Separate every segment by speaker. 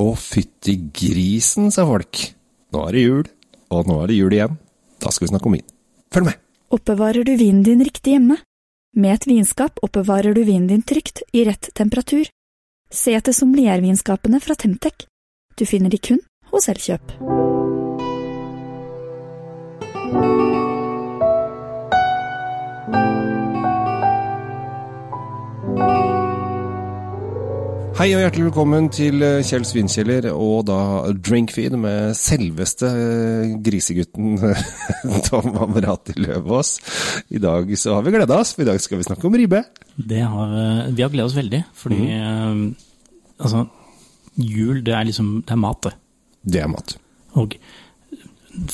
Speaker 1: Å, fytti grisen, sa folk. Nå er det jul, og nå er det jul igjen. Da skal vi snakke om vin. Følg med!
Speaker 2: Oppbevarer du vinen din riktig hjemme? Med et vinskap oppbevarer du vinen din trygt, i rett temperatur. Se etter sommeliervinskapene fra Temtec. Du finner de kun hos Elkjøp.
Speaker 1: Hei og hjertelig velkommen til eh, Kjell Svinkjeller og da Drinkfeed med selveste eh, grisegutten Tom Amrati Løvaas. I dag så har vi gleda oss, for i dag skal vi snakke om ribbe.
Speaker 3: Det har, eh, vi har gledet oss veldig, fordi eh, altså, jul det er liksom det er mat, det.
Speaker 1: Det er mat.
Speaker 3: Og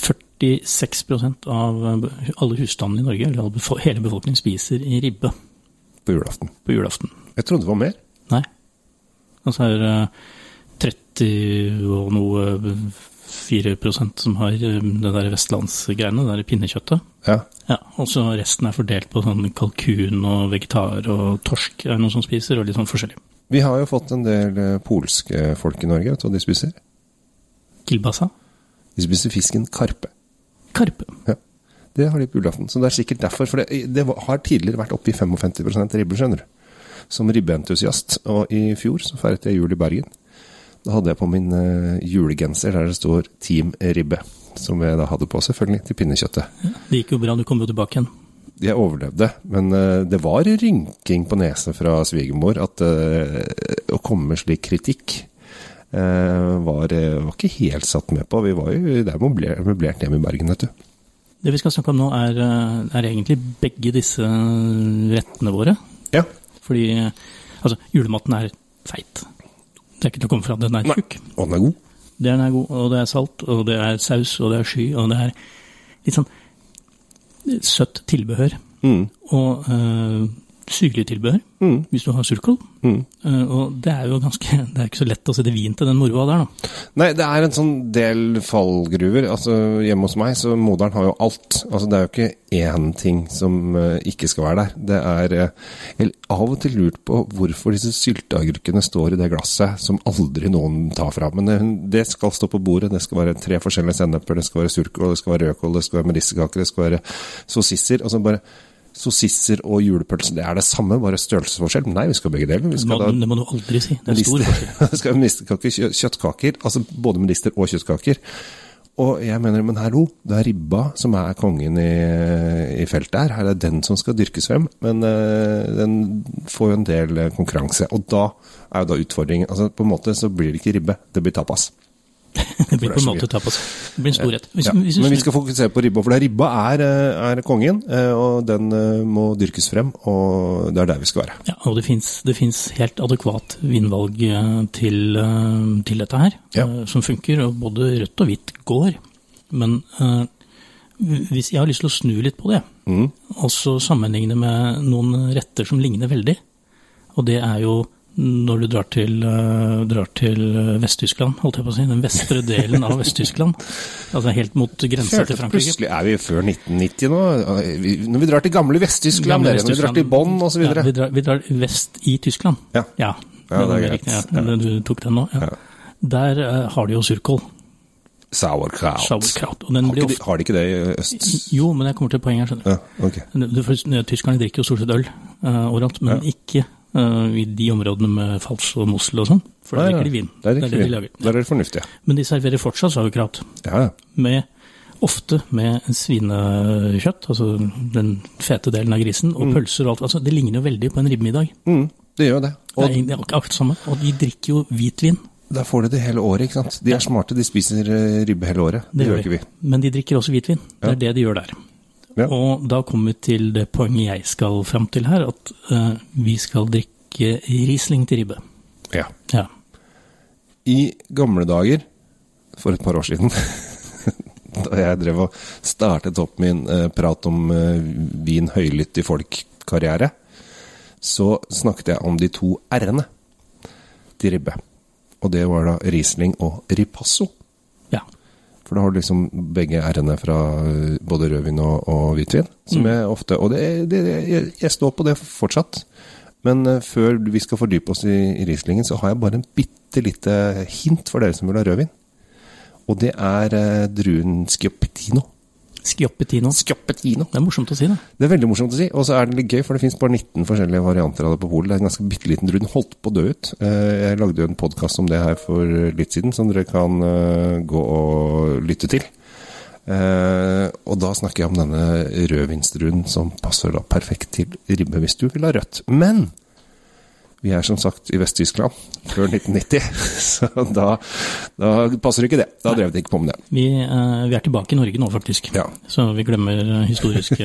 Speaker 3: 46 av eh, alle husstandene i Norge, eller all befo- hele befolkningen, spiser i ribbe
Speaker 1: På julaften.
Speaker 3: på julaften.
Speaker 1: Jeg trodde det var mer.
Speaker 3: Nei. Og så er det eh, 30 og noe eh, 4 som har eh, det der vestlandsgreiene, det der pinnekjøttet.
Speaker 1: Ja.
Speaker 3: Ja, og så resten er fordelt på sånn kalkun og vegetar og torsk er det noen som spiser, og litt sånn forskjellig.
Speaker 1: Vi har jo fått en del eh, polske folk i Norge, vet du hva de spiser?
Speaker 3: Kilbasa?
Speaker 1: De spiser fisken karpe.
Speaker 3: Karpe.
Speaker 1: Ja. Det har de på julaften. Så det er sikkert derfor. For det, det var- har tidligere vært oppe i 55 ribbe, skjønner du. Som ribbeentusiast. Og i fjor så feiret jeg jul i Bergen. Da hadde jeg på min eh, julegenser der det står Team Ribbe. Som jeg da hadde på, selvfølgelig, til pinnekjøttet.
Speaker 3: Det gikk jo bra, du kom jo tilbake igjen.
Speaker 1: Jeg overlevde, men eh, det var rynking på nesen fra svigermor at eh, å komme med slik kritikk eh, var, eh, var ikke helt satt med på. Vi var jo der møblert, møblert hjemme i Bergen, vet du.
Speaker 3: Det vi skal snakke om nå, er, eh, er egentlig begge disse eh, rettene våre.
Speaker 1: Ja.
Speaker 3: Fordi eh, altså, julematen er feit. Det er ikke til å komme fra. Den er tjukk.
Speaker 1: Og den er god.
Speaker 3: Den er god, og det er salt, og det er saus, og det er sky, og det er litt sånn eh, søtt tilbehør.
Speaker 1: Mm.
Speaker 3: Og eh, syrlig tilbehør,
Speaker 1: Mm.
Speaker 3: hvis du har surkål.
Speaker 1: Mm.
Speaker 3: Eh, og det er jo ganske Det er ikke så lett å sette vin til den moroa der, da.
Speaker 1: Nei, det er en sånn del fallgruver. Altså, hjemme hos meg, så moderen har jo alt. Altså, det er jo ikke én ting som eh, ikke skal være der. Det er eh, Jeg har av og til lurt på hvorfor disse sylteagurkene står i det glasset som aldri noen tar fra. Men det, det skal stå på bordet, det skal være tre forskjellige senneper, det skal være surkål, det skal være rødkål, det skal være medisterkaker, det skal være sossisser. Og så bare Sossisser og julepølse, det er det samme, bare størrelsesforskjell? Nei, vi skal begge deler. Vi
Speaker 3: Det
Speaker 1: skal
Speaker 3: må,
Speaker 1: da
Speaker 3: det må du aldri si. Det er stor
Speaker 1: Medister-
Speaker 3: forskjell.
Speaker 1: Det skal være medisterkaker, kjø- kjøttkaker, altså både medister og kjøttkaker. Og jeg mener, men hallo, det er ribba som er kongen i, i feltet her. Her er det den som skal dyrkes frem, men eh, den får jo en del eh, konkurranse. Og da er jo da utfordringen Altså på en måte så blir det ikke ribbe, det blir tapas.
Speaker 3: Det
Speaker 1: det
Speaker 3: blir
Speaker 1: er
Speaker 3: på en
Speaker 1: så
Speaker 3: måte tapas. Det blir en stor rett. Hvis,
Speaker 1: Ja.
Speaker 3: hvis du
Speaker 1: Men vi
Speaker 3: snur-
Speaker 1: skal fokusere på ribba, for det er ribba er, eh, er kongen, eh, og den eh, må dyrkes frem, og det er der vi skal være.
Speaker 3: Ja, og det fins, det finnes helt adekvat vinvalg eh, til, eh, til dette her,
Speaker 1: Ja.
Speaker 3: eh, som funker. Og både rødt og hvitt går. Men eh, hvis jeg har lyst til å snu litt på det,
Speaker 1: Mm.
Speaker 3: og så sammenligne med noen retter som ligner veldig, og det er jo når du drar til, eh, drar til eh, Vest-Tyskland, holdt jeg på å si, den vestre delen av Vest-Tyskland, altså helt mot grensa
Speaker 1: Følte
Speaker 3: til
Speaker 1: at
Speaker 3: Frankrike.
Speaker 1: Plutselig er vi før 1990 nå. Vi- Når vi drar til gamle Vest-Tyskland,
Speaker 3: Gamle
Speaker 1: dere, når vi drar
Speaker 3: Vest-Tyskland.
Speaker 1: til Bonn osv.
Speaker 3: Ja, vi, drar, vi drar vest i Tyskland.
Speaker 1: Ja.
Speaker 3: ja.
Speaker 1: Ja, det er
Speaker 3: var
Speaker 1: greit.
Speaker 3: riktig, Ja. men Du tok den nå? Ja. Der eh, har de jo surkål,
Speaker 1: Sauerkraut.
Speaker 3: sauerkraut. Og den
Speaker 1: Har,
Speaker 3: blir
Speaker 1: ikke de,
Speaker 3: ofte
Speaker 1: har de ikke det i øst?
Speaker 3: Jo, men jeg kommer til poenget her, skjønner du.
Speaker 1: Ja, ok.
Speaker 3: Det- det- for eh, Tyskerne drikker jo stort sett øl eh, overalt, men ikke eh, i de områdene med fals og mosel og sånn. For der
Speaker 1: Nei, nei,
Speaker 3: drikker de vin.
Speaker 1: Der
Speaker 3: det er det de
Speaker 1: drikker vi.
Speaker 3: lager.
Speaker 1: Der er det fornuftige.
Speaker 3: Men de serverer fortsatt sauerkraut,
Speaker 1: Ja, ja.
Speaker 3: med, ofte med svinekjøtt, altså den fete delen av grisen, og pølser og alt. Altså, det ligner jo veldig på en ribbemiddag.
Speaker 1: Mm, det gjør jo det.
Speaker 3: Det
Speaker 1: Og
Speaker 3: er egentlig akkurat det samme. Og de drikker jo hvitvin.
Speaker 1: da får de det hele året, ikke sant. De er smarte, de spiser eh, ribbe hele året. Det, gjør
Speaker 3: de.
Speaker 1: ikke vi.
Speaker 3: Men de drikker også hvitvin. Det er det de gjør der.
Speaker 1: Ja.
Speaker 3: Og da kommer vi til det poenget jeg skal fram til her, at eh, vi skal drikke Riesling til ribbe.
Speaker 1: Ja.
Speaker 3: Ja.
Speaker 1: I gamle dager, for et par år siden, da jeg drev og startet opp min eh, prat om eh, vin høylytt i folk-karriere, så snakket jeg om de to r-ene til ribbe. Og det var da Riesling og Ripasso.
Speaker 3: ja.
Speaker 1: For da har du liksom begge r-ene fra eh, både rødvin og, og hvitvin. Som jeg ofte Og det, det, det, jeg, jeg står på det fortsatt. Men eh, før vi skal fordype oss i, i Rieslingen, så har jeg bare en bitte lite hint for dere som vil ha rødvin. Og det er eh, druen Schioppettino.
Speaker 3: Skioppetino.
Speaker 1: Schioppettino.
Speaker 3: Det er morsomt å si, da.
Speaker 1: Det er veldig morsomt å si, og så er det litt gøy, for det fins bare 19 forskjellige varianter av det på polet. Det er en ganske bitte liten drue. Den holdt på å dø ut. Eh, Jeg lagde jo en podkast om det her for litt siden, som dere kan eh, gå og lytte til. Eh, og da snakker jeg om denne rødvinsdruen som passer da perfekt til ribbe hvis du vil ha rødt. Men vi er som sagt i Vest-Tyskland før 1990, så da, da passer ikke det. Da drev de ikke på med det.
Speaker 3: Vi, eh, vi er tilbake i Norge nå, faktisk.
Speaker 1: Ja.
Speaker 3: Så vi glemmer eh, historiske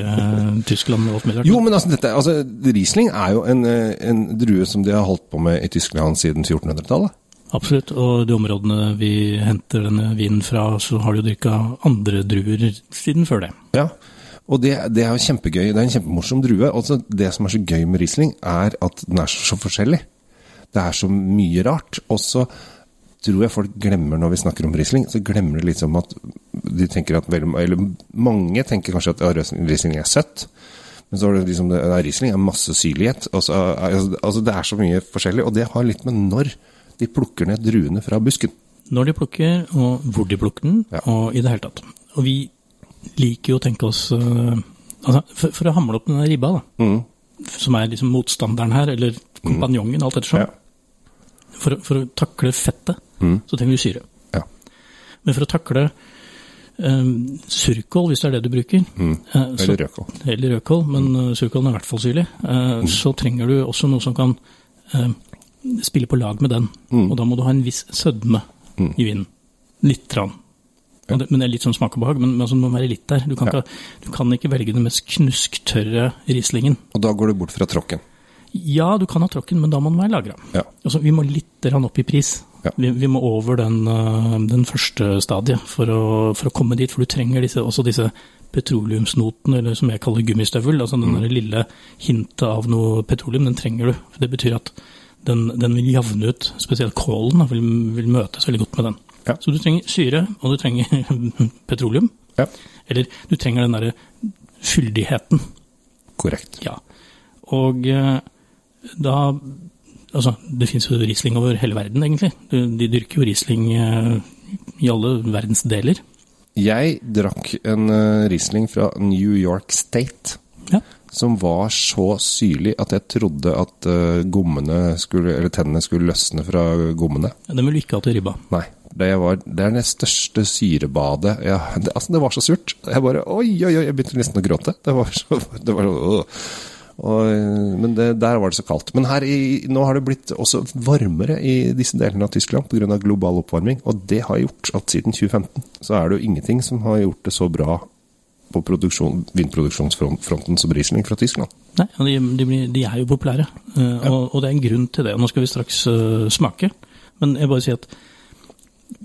Speaker 3: eh, Tyskland og alt mulig rart.
Speaker 1: Jo, men altså, dette, altså Riesling er jo en, eh, en drue som de har holdt på med i Tyskland siden 1400-tallet.
Speaker 3: Absolutt, og de områdene vi henter denne vinen fra, så har de jo dyrka andre druer siden før det.
Speaker 1: Ja, og det, det er jo kjempegøy. Det er en kjempemorsom drue. Altså, det som er så gøy med Riesling, er at den er så, så forskjellig. Det er så mye rart. Og så tror jeg folk glemmer, når vi snakker om Riesling, så glemmer de liksom at de tenker at veldig, Eller mange tenker kanskje at ja, Riesling er søtt. Men så er det liksom det, nei, Riesling er masse syrlighet. Og så, er- altså, altså, det er så mye forskjellig. Og det har litt med når de plukker ned druene fra busken.
Speaker 3: Når de plukker, og hvor de plukker den,
Speaker 1: Ja.
Speaker 3: og i det hele tatt. Og vi liker jo å tenke oss eh, altså, for, for å hamle opp denne ribba, da,
Speaker 1: Mm.
Speaker 3: som er liksom motstanderen her, eller kompanjongen, alt ettersom.
Speaker 1: Ja. Mm.
Speaker 3: For, å- for å takle fettet, så trenger du syre.
Speaker 1: Ja.
Speaker 3: Men for å takle eh, surkål, hvis det er det du bruker, eh, så-
Speaker 1: Mm. Eller rødkål.
Speaker 3: eller rødkål, men mm. surkålen er i hvert fall syrlig, eh, så trenger du også noe som kan eh, spille på lag med den. Og da må du ha en viss sødme i vinen. Litt. Rann. Og Det, men det er litt sånn smak og behag, men, men altså, det må være litt der. Du kan,
Speaker 1: Ja.
Speaker 3: ikke, du kan ikke velge den mest knusktørre rislingen.
Speaker 1: Og da går du bort fra tråkken.
Speaker 3: Ja, du kan ha tråkken, men da må den være lagra.
Speaker 1: Ja.
Speaker 3: Altså, vi må litt rann opp i pris.
Speaker 1: Ja.
Speaker 3: Vi, vi må over den, eh, den første stadiet for å, for å komme dit, for du trenger disse, også disse petroleumsnotene, eller som jeg kaller gummistøvel. altså
Speaker 1: Mm.
Speaker 3: Den der lille hintet av noe petroleum, den trenger du. For det betyr at den, den vil javne ut, spesielt kålen da, vil, vil møtes veldig godt med den.
Speaker 1: Ja.
Speaker 3: Så du trenger syre, og du trenger petroleum.
Speaker 1: Ja,
Speaker 3: Eller du trenger den derre fyldigheten.
Speaker 1: korrekt.
Speaker 3: Ja. Og eh, da Altså, det fins jo Riesling over hele verden, egentlig. De, de dyrker jo Riesling eh, i alle verdens deler.
Speaker 1: Jeg drakk en eh, Riesling fra New York State
Speaker 3: Ja.
Speaker 1: som var så syrlig at jeg trodde at eh, gommene skulle, eller tennene skulle løsne fra gommene.
Speaker 3: Den vil du ikke ha til ribba.
Speaker 1: Nei, det, var, det er det største syrebadet. Jeg, det, altså, det var så surt. Jeg bare, oi, oi, oi, jeg begynte nesten å gråte. Det var så, det var så øh. og, eh, men det, der var det så kaldt. Men her i, nå har det blitt også varmere i disse delene av Tyskland pga. global oppvarming, og det har gjort at siden 2015 så er det jo ingenting som har gjort det så bra på produksjon, vinproduksjonsfronten som Riesling fra Tyskland.
Speaker 3: Nei, og de, de, blir, de er jo populære, eh, og, og det er en grunn til det. Nå skal vi straks eh, smake, men jeg bare sier at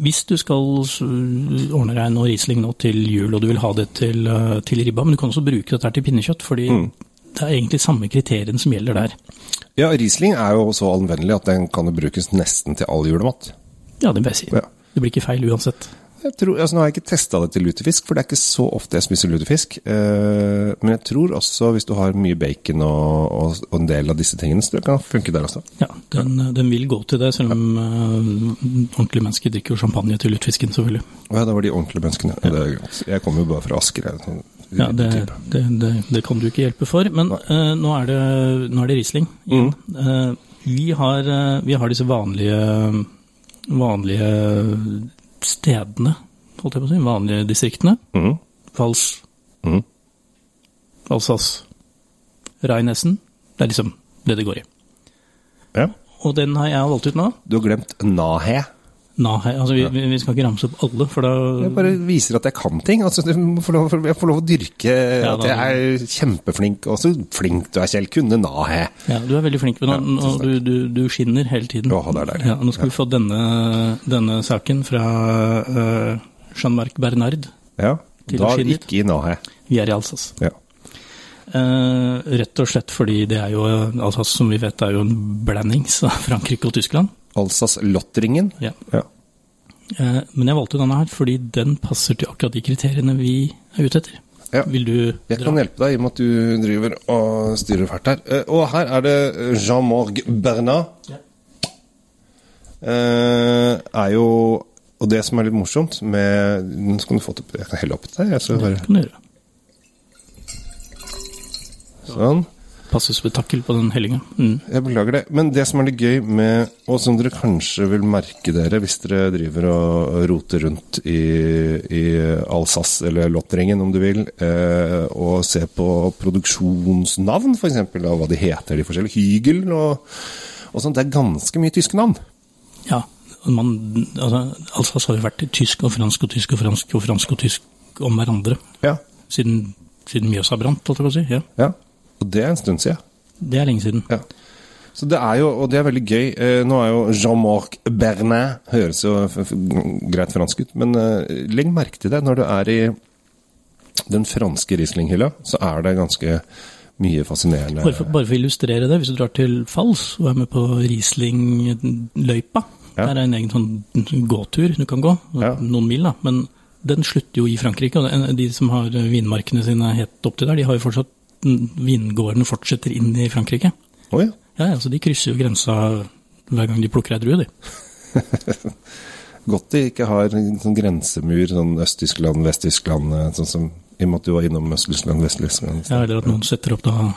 Speaker 3: hvis du skal s- ordne deg noe Riesling nå til jul, og du vil ha det til, eh, til ribba, men du kan også bruke dette her til pinnekjøtt, fordi det er egentlig samme kriterien som gjelder der.
Speaker 1: Ja, Riesling er jo så anvendelig at den kan jo brukes nesten til all julemat.
Speaker 3: Ja, det vil jeg si.
Speaker 1: Ja.
Speaker 3: Det blir ikke feil uansett.
Speaker 1: Jeg tror, altså Nå har jeg ikke testa det til lutefisk, for det er ikke så ofte jeg spiser lutefisk. Eh, men jeg tror også, hvis du har mye bacon og, og, og en del av disse tingene, så det kan funke der også.
Speaker 3: Ja, den, eh, den vil gå til det, selv om eh, ordentlige mennesker drikker jo champagne til lutfisken, selvfølgelig.
Speaker 1: Å ja, det var de ordentlige menneskene. Ja, det er greit. Jeg kommer jo bare fra Asker. Jeg, er en sånn
Speaker 3: Ja, det,
Speaker 1: type.
Speaker 3: det, det, det kan du ikke hjelpe for, men eh, nå, er det, nå er det Riesling. igjen. Eh, vi, har, eh, vi har disse vanlige, vanlige stedene, holdt jeg på å si, vanlige distriktene.
Speaker 1: Mhm.
Speaker 3: Vals,
Speaker 1: Mhm.
Speaker 3: Alsace, Rheinessen. Det er liksom det det går i.
Speaker 1: ja.
Speaker 3: Og den har jeg valgt ut nå.
Speaker 1: Du har glemt Nahe.
Speaker 3: Nei, altså vi, vi- vi skal ikke ramse opp alle, for da
Speaker 1: Jeg bare viser at jeg kan ting. Altså, du må få lov, jeg får lov å dyrke
Speaker 3: Ja,
Speaker 1: at
Speaker 3: da-
Speaker 1: jeg er kjempeflink. Og så flink du er, Kjell. Kunne Nahe.
Speaker 3: Ja, du er veldig flink med den,
Speaker 1: Ja, tusen
Speaker 3: og du, du, du skinner hele tiden.
Speaker 1: Å, det er deilig.
Speaker 3: Ja, nå skal vi få denne, denne saken fra eh, Jean-Marc Bernard.
Speaker 1: Ja.
Speaker 3: Til
Speaker 1: Da
Speaker 3: å skinne
Speaker 1: ikke i Nahe.
Speaker 3: Vi er i Alsace.
Speaker 1: Ja.
Speaker 3: Eh, rett og slett fordi det er jo Alsace, som vi vet, er jo en blandings av Frankrike og Tyskland.
Speaker 1: Alsas-Lottringen.
Speaker 3: Ja.
Speaker 1: Ja.
Speaker 3: Eh, men jeg valgte denne her fordi den passer til akkurat de kriteriene vi er ute etter.
Speaker 1: Ja.
Speaker 3: Vil du
Speaker 1: Jeg kan hjelpe deg i og med at du driver og styrer fælt her. Eh, Og her er det eh, Jean-Morgue Bernat.
Speaker 3: Ja.
Speaker 1: Eh, er jo Og det som er litt morsomt med Nå skal du få til Jeg kan helle oppi der, jeg. Så
Speaker 3: Det
Speaker 1: bare,
Speaker 3: kan du gjøre.
Speaker 1: sånn.
Speaker 3: Passe spetakkel på den hellinga. Mm.
Speaker 1: Jeg beklager det. Men det som er litt gøy med Og som dere kanskje vil merke dere hvis dere driver og roter rundt i, i Alsace eller Lotteringen, om du vil, eh, og ser på produksjonsnavn, f.eks., og hva de heter, de forskjellige Hygel og, og sånt, det er ganske mye tyske navn.
Speaker 3: Ja. og Man, altså, Alsace har jo vært tysk og fransk og tysk og fransk og fransk og tysk om hverandre
Speaker 1: Ja.
Speaker 3: siden, siden Mjøsa brant, holdt jeg på å si. Ja.
Speaker 1: ja. Og det er en stund siden.
Speaker 3: Det er lenge siden.
Speaker 1: Ja. Så det er jo, og det er veldig gøy eh, Nå er jo Jean-Marc Bernet Høres jo f f greit fransk ut, men eh, legg merke til det. Når du er i den franske Riesling-hylla, så er det ganske mye fascinerende
Speaker 3: Bare for, bare for å illustrere det, hvis du drar til Fals og er med på Riesling-løypa
Speaker 1: Ja.
Speaker 3: Der er en egen sånn gåtur du kan gå,
Speaker 1: Ja.
Speaker 3: noen mil da, men den slutter jo i Frankrike. Og den- de som har vinmarkene sine helt opp til der, de har jo fortsatt Vingårdene fortsetter inn i Frankrike.
Speaker 1: Å ja.
Speaker 3: Ja, ja, så de krysser jo grensa hver gang de plukker ei drue, de.
Speaker 1: Godt de ikke har en sånn grensemur, sånn Øst-Tyskland, Vest-Tyskland, eh, sånn som i og med at du var innom Øst-Tyskland, Vest-Tyskland.
Speaker 3: Ja, eller at noen setter opp da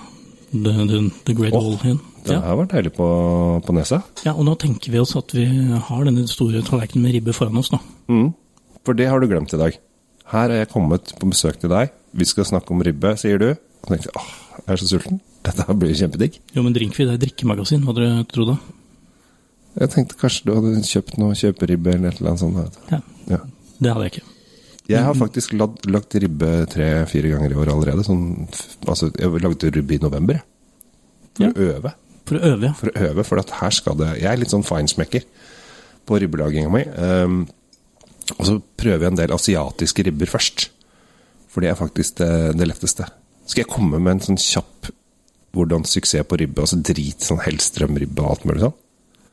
Speaker 3: The, the, the Great
Speaker 1: Åh,
Speaker 3: Wall igjen.
Speaker 1: Det
Speaker 3: Ja.
Speaker 1: har vært deilig på, på nesa.
Speaker 3: ja, og nå tenker vi oss at vi har denne store tallerkenen med ribbe foran oss nå.
Speaker 1: Mm. For det har du glemt i dag. Her er jeg kommet på besøk til deg. Vi skal snakke om ribbe, sier du. Og tenkte åh, jeg er så sulten. Dette her blir jo kjempedigg.
Speaker 3: Jo, men Drinkfeed er et drikkemagasin, hva dere tror da?
Speaker 1: Jeg tenkte kanskje du hadde kjøpt noe kjøperibbe eller et eller annet sånt. vet du.
Speaker 3: Ja,
Speaker 1: Ja.
Speaker 3: det hadde jeg ikke.
Speaker 1: Jeg har faktisk lagd, lagt ribbe tre-fire ganger i år allerede. Sånn, f- altså, jeg lagde ribbe i november, jeg. For
Speaker 3: Ja.
Speaker 1: å øve.
Speaker 3: For å øve, ja.
Speaker 1: For å øve, for at her skal det Jeg er litt sånn feinsmekker på ribbelaginga mi. Um, og så prøver jeg en del asiatiske ribber først. For det er faktisk det, det letteste. Skal jeg komme med en sånn kjapp hvordan suksess på ribbe, altså drit sånn Hellstrøm-ribbe og alt mulig sånn?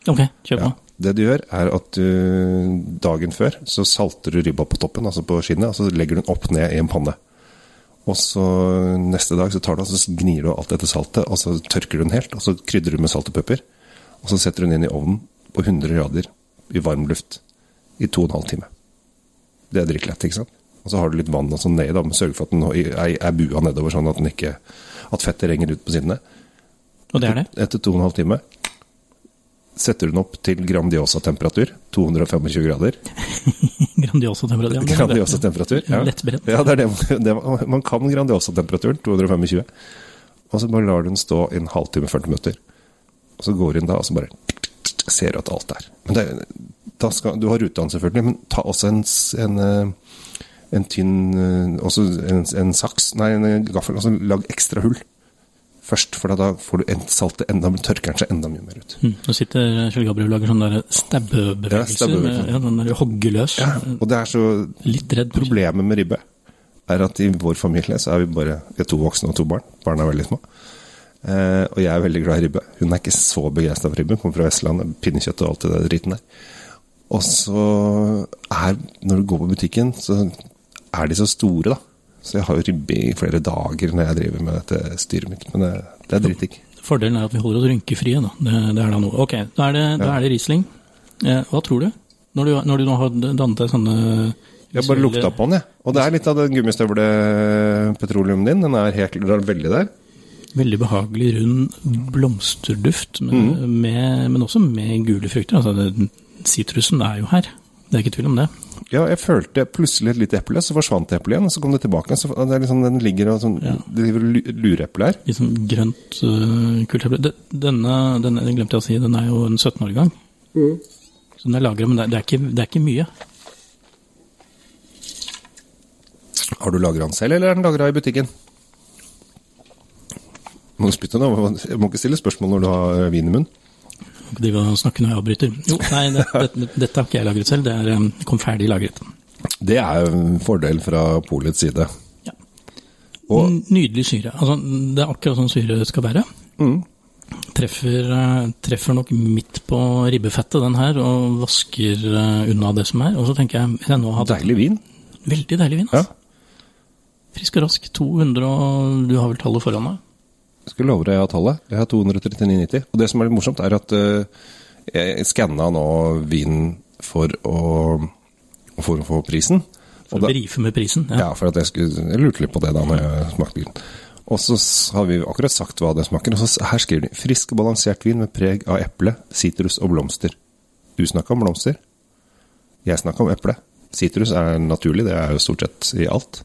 Speaker 3: Ok, kjør på.
Speaker 1: Ja. Det du gjør, er at du dagen før så salter du ribba på toppen, altså på skinnet, og så legger du den opp ned i en panne. Og så neste dag så tar du og så gnir du alt dette saltet, og så tørker du den helt, og så krydder du med salt og pepper. Og så setter du den inn i ovnen på 100 grader i varm luft i 2 12 timer. Det er drittlett, ikke sant? Og så har du litt vann og sånn nedi, da, men sørg for at den er er bua nedover, sånn at den ikke at fettet renger ut på sidene.
Speaker 3: Og det er det?
Speaker 1: Etter to og en halv time setter du den opp til Grandiosa-temperatur. 225 grader.
Speaker 3: Grandiosa temperatur. Ja, det er det.
Speaker 1: Grandiosa-temperatur. Ja.
Speaker 3: Lettbrent.
Speaker 1: ja, det er det, det man- man kan Grandiosa-temperaturen. 225. Og så bare lar du den stå i en halvtime, 40 minutter. Og så går du inn da, og så bare ser du at alt er. Men det, da skal, du har rutan selvfølgelig, men ta også en, s- en, eh, en tynn eh, Også en, en saks, nei, en eh, gaffel. Og så lag ekstra hull først, for da får du en- saltet enda, tørker den seg enda mye mer ut.
Speaker 3: Mm, Nå sitter Kjell Gabriel og lager sånne der
Speaker 1: Ja,
Speaker 3: stabbebevegelser.
Speaker 1: stabbebevegelser.
Speaker 3: med- Ja, den der hoggeløs.
Speaker 1: Og det er så
Speaker 3: Litt redd.
Speaker 1: Problemet med ribbe er at i vår familie så er vi bare vi er to voksne og to barn. Barna er veldig små. Eh, og jeg er veldig glad i ribbe. Hun er ikke så begeistra for ribbe. Kommer fra Vestlandet. Pinnekjøtt og alt det der driten der. Og så er Når du går på butikken, så er de så store, da. Så jeg har jo ribbe i flere dager når jeg driver med dette styret mitt. Men det, det er dritdigg.
Speaker 3: Fordelen er at vi holder oss rynkefrie, da. Det, det er da noe. Ok, da er det, da er det Riesling. Eh, hva tror du? Når du, når du nå har dannet deg sånne
Speaker 1: Jeg bare lukta på den, jeg. Og det er litt av den gummistøvlepetroleum din. Den er helt den er veldig der.
Speaker 3: Veldig behagelig, rund blomsterduft, men,
Speaker 1: Mm.
Speaker 3: med, men også med gule frukter. Altså, det- sitrusen er jo her. Det er ikke tvil om det.
Speaker 1: Ja, jeg følte plutselig et lite eple, så forsvant eplet igjen, og så kom det tilbake. Så det er liksom, den ligger og sånn,
Speaker 3: Ja.
Speaker 1: det driver og lu- lureeple her.
Speaker 3: Litt sånn grønt, uh, kult eple. De- Denne, denne den glemte jeg å si, den er jo en 17-årgang. Så den er lagra, men det er, det, er ikke, det er ikke mye.
Speaker 1: Har du lagra den selv, eller er den lagra i butikken? Må du spytte nå? Jeg må ikke stille spørsmål når du har vin i munnen.
Speaker 3: Kan ikke drive og snakke når jeg avbryter. Jo, nei, det, det, dette har ikke jeg lagret selv, det er, um, kom ferdig lagret.
Speaker 1: Det er jo en fordel fra polets side.
Speaker 3: Ja.
Speaker 1: Og-
Speaker 3: N- Nydelig syre. Altså, det er akkurat sånn syre skal være.
Speaker 1: Mm.
Speaker 3: Treffer, eh, treffer nok midt på ribbefettet, den her, og vasker eh, unna det som er. Og så tenker jeg, jeg nå har hatt
Speaker 1: Deilig vin.
Speaker 3: veldig deilig vin.
Speaker 1: Ja.
Speaker 3: Altså. Frisk og rask 200, og du har vel tallet foran deg?
Speaker 1: Skulle love deg jeg har tallet. Jeg har 239,90. Og det som er litt morsomt, er at eh, jeg skanna nå vinen for å, for å få prisen.
Speaker 3: For
Speaker 1: Og
Speaker 3: å
Speaker 1: da-
Speaker 3: brife med prisen.
Speaker 1: Ja,
Speaker 3: Ja.
Speaker 1: for at jeg, skulle, jeg lurte litt på det da når jeg smakte vin. Og så s- har vi akkurat sagt hva det smaker. Og så s- her skriver de 'frisk og balansert vin med preg av eple, sitrus og blomster'. Du snakka om blomster. Jeg snakka om eple. Sitrus er naturlig, det er jo stort sett i alt.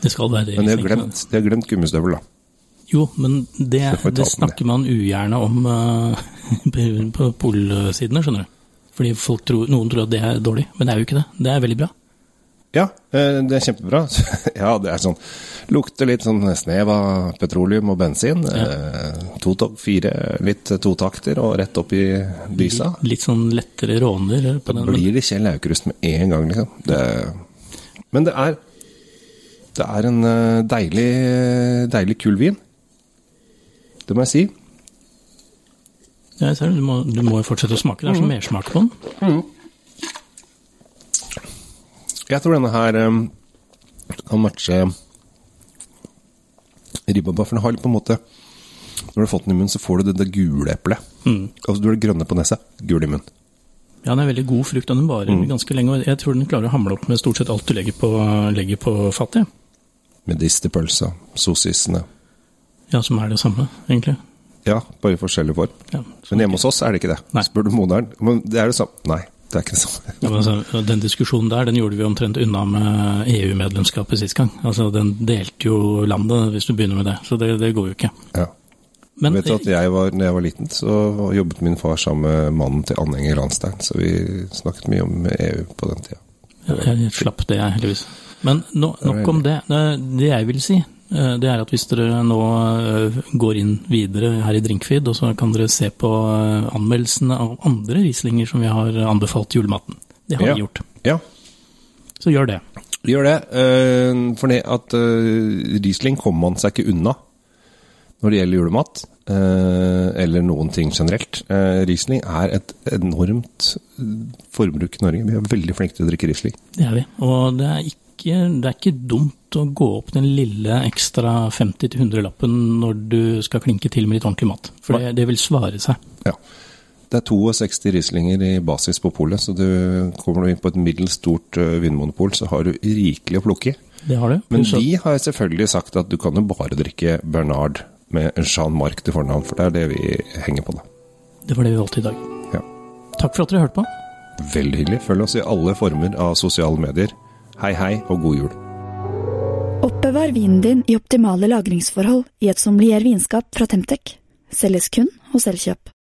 Speaker 3: Det skal være
Speaker 1: Men de har
Speaker 3: litt lenge.
Speaker 1: glemt, de har glemt gummistøvel, da.
Speaker 3: Jo, men det,
Speaker 1: Så får vi ta
Speaker 3: det
Speaker 1: opp med
Speaker 3: snakker man ugjerne om eh, på- på polsidene, skjønner du. Fordi folk tror, noen tror at det er dårlig, men det er jo ikke det. Det er veldig bra.
Speaker 1: Ja, eh, det er kjempebra. Ja, det er sånn Lukter litt sånn snev av petroleum og bensin. Eh, To tok fire, litt totakter og rett opp i dysa.
Speaker 3: Litt sånn lettere råner eh, på
Speaker 1: Da
Speaker 3: den. Men
Speaker 1: blir det Kjell Aukrust med en gang, liksom. Det, men det er Det er en eh, deilig, eh, deilig kul vin. Det må jeg si.
Speaker 3: ja, jeg ser det, du, må, du må jo fortsette å smake.
Speaker 1: Mm.
Speaker 3: Det er så mersmak på den.
Speaker 1: Jeg tror denne her eh, kan matche ribaba, for den har litt på en måte Når du har fått den i munnen, så får du det, det gule eplet. Altså du har det grønne på nesa, gul i munnen.
Speaker 3: Ja, den er veldig god frukt, og den varer
Speaker 1: Mm.
Speaker 3: ganske lenge. og Jeg tror den klarer å hamle opp med stort sett alt du legger på, legger på fatet. jeg.
Speaker 1: Med distepølsa, sossisene
Speaker 3: Ja, som er det samme, egentlig.
Speaker 1: Ja, bare i forskjellig form.
Speaker 3: Ja.
Speaker 1: Men hjemme hos oss er det ikke det.
Speaker 3: Nei.
Speaker 1: Spør du moderen. Men det er det samme. Nei, det er ikke det samme.
Speaker 3: Ja, men altså, den diskusjonen der, den gjorde vi omtrent unna med EU-medlemskapet sist gang. Altså, den delte jo landet, hvis du begynner med det. Så det, det går jo ikke.
Speaker 1: Ja.
Speaker 3: Men
Speaker 1: Vet du at jeg var, når jeg var liten, så jobbet min far sammen med mannen til Anhenger Ranstein, så vi snakket mye om EU på den tida.
Speaker 3: Ja, Jeg slapp det, jeg, heldigvis. Men no, nok om det. Eh, Det jeg vil si, eh, det er at hvis dere nå eh, går inn videre her i Drinkfeed, og så kan dere se på eh, anmeldelsene av andre rieslinger som vi har anbefalt til julematen. Det har
Speaker 1: Ja.
Speaker 3: vi gjort.
Speaker 1: Ja,
Speaker 3: Så gjør det.
Speaker 1: vi gjør det. eh, For det at eh, Riesling kommer man seg ikke unna når det gjelder julemat, eh, eller noen ting generelt. Eh, Riesling er et enormt eh, forbruk i Norge. Vi er veldig flinke til å drikke Riesling.
Speaker 3: Det er vi. Og det er ikke, det er ikke dumt å gå opp den lille ekstra 50-100-lappen når du skal klinke til med litt ordentlig mat. For det, det vil svare seg.
Speaker 1: Ja. Det er 62 Rieslinger i basis på polet, så du kommer du inn på et middels stort eh, vinmonopol, så har du rikelig å plukke i.
Speaker 3: Det har du.
Speaker 1: Men
Speaker 3: Pluss at-
Speaker 1: vi har selvfølgelig sagt at du kan jo bare drikke Bernard med Jean Marc til fornavn, for det er det vi henger på, da.
Speaker 3: Det var det vi valgte i dag.
Speaker 1: Ja.
Speaker 3: Takk for at dere hørte på.
Speaker 1: Veldig hyggelig. Følg oss i alle former av sosiale medier. Hei, hei, og god jul.
Speaker 2: Oppbevar vinen din i optimale lagringsforhold i et sommelier vinskap fra Temtec. Selges kun hos Elkjøp.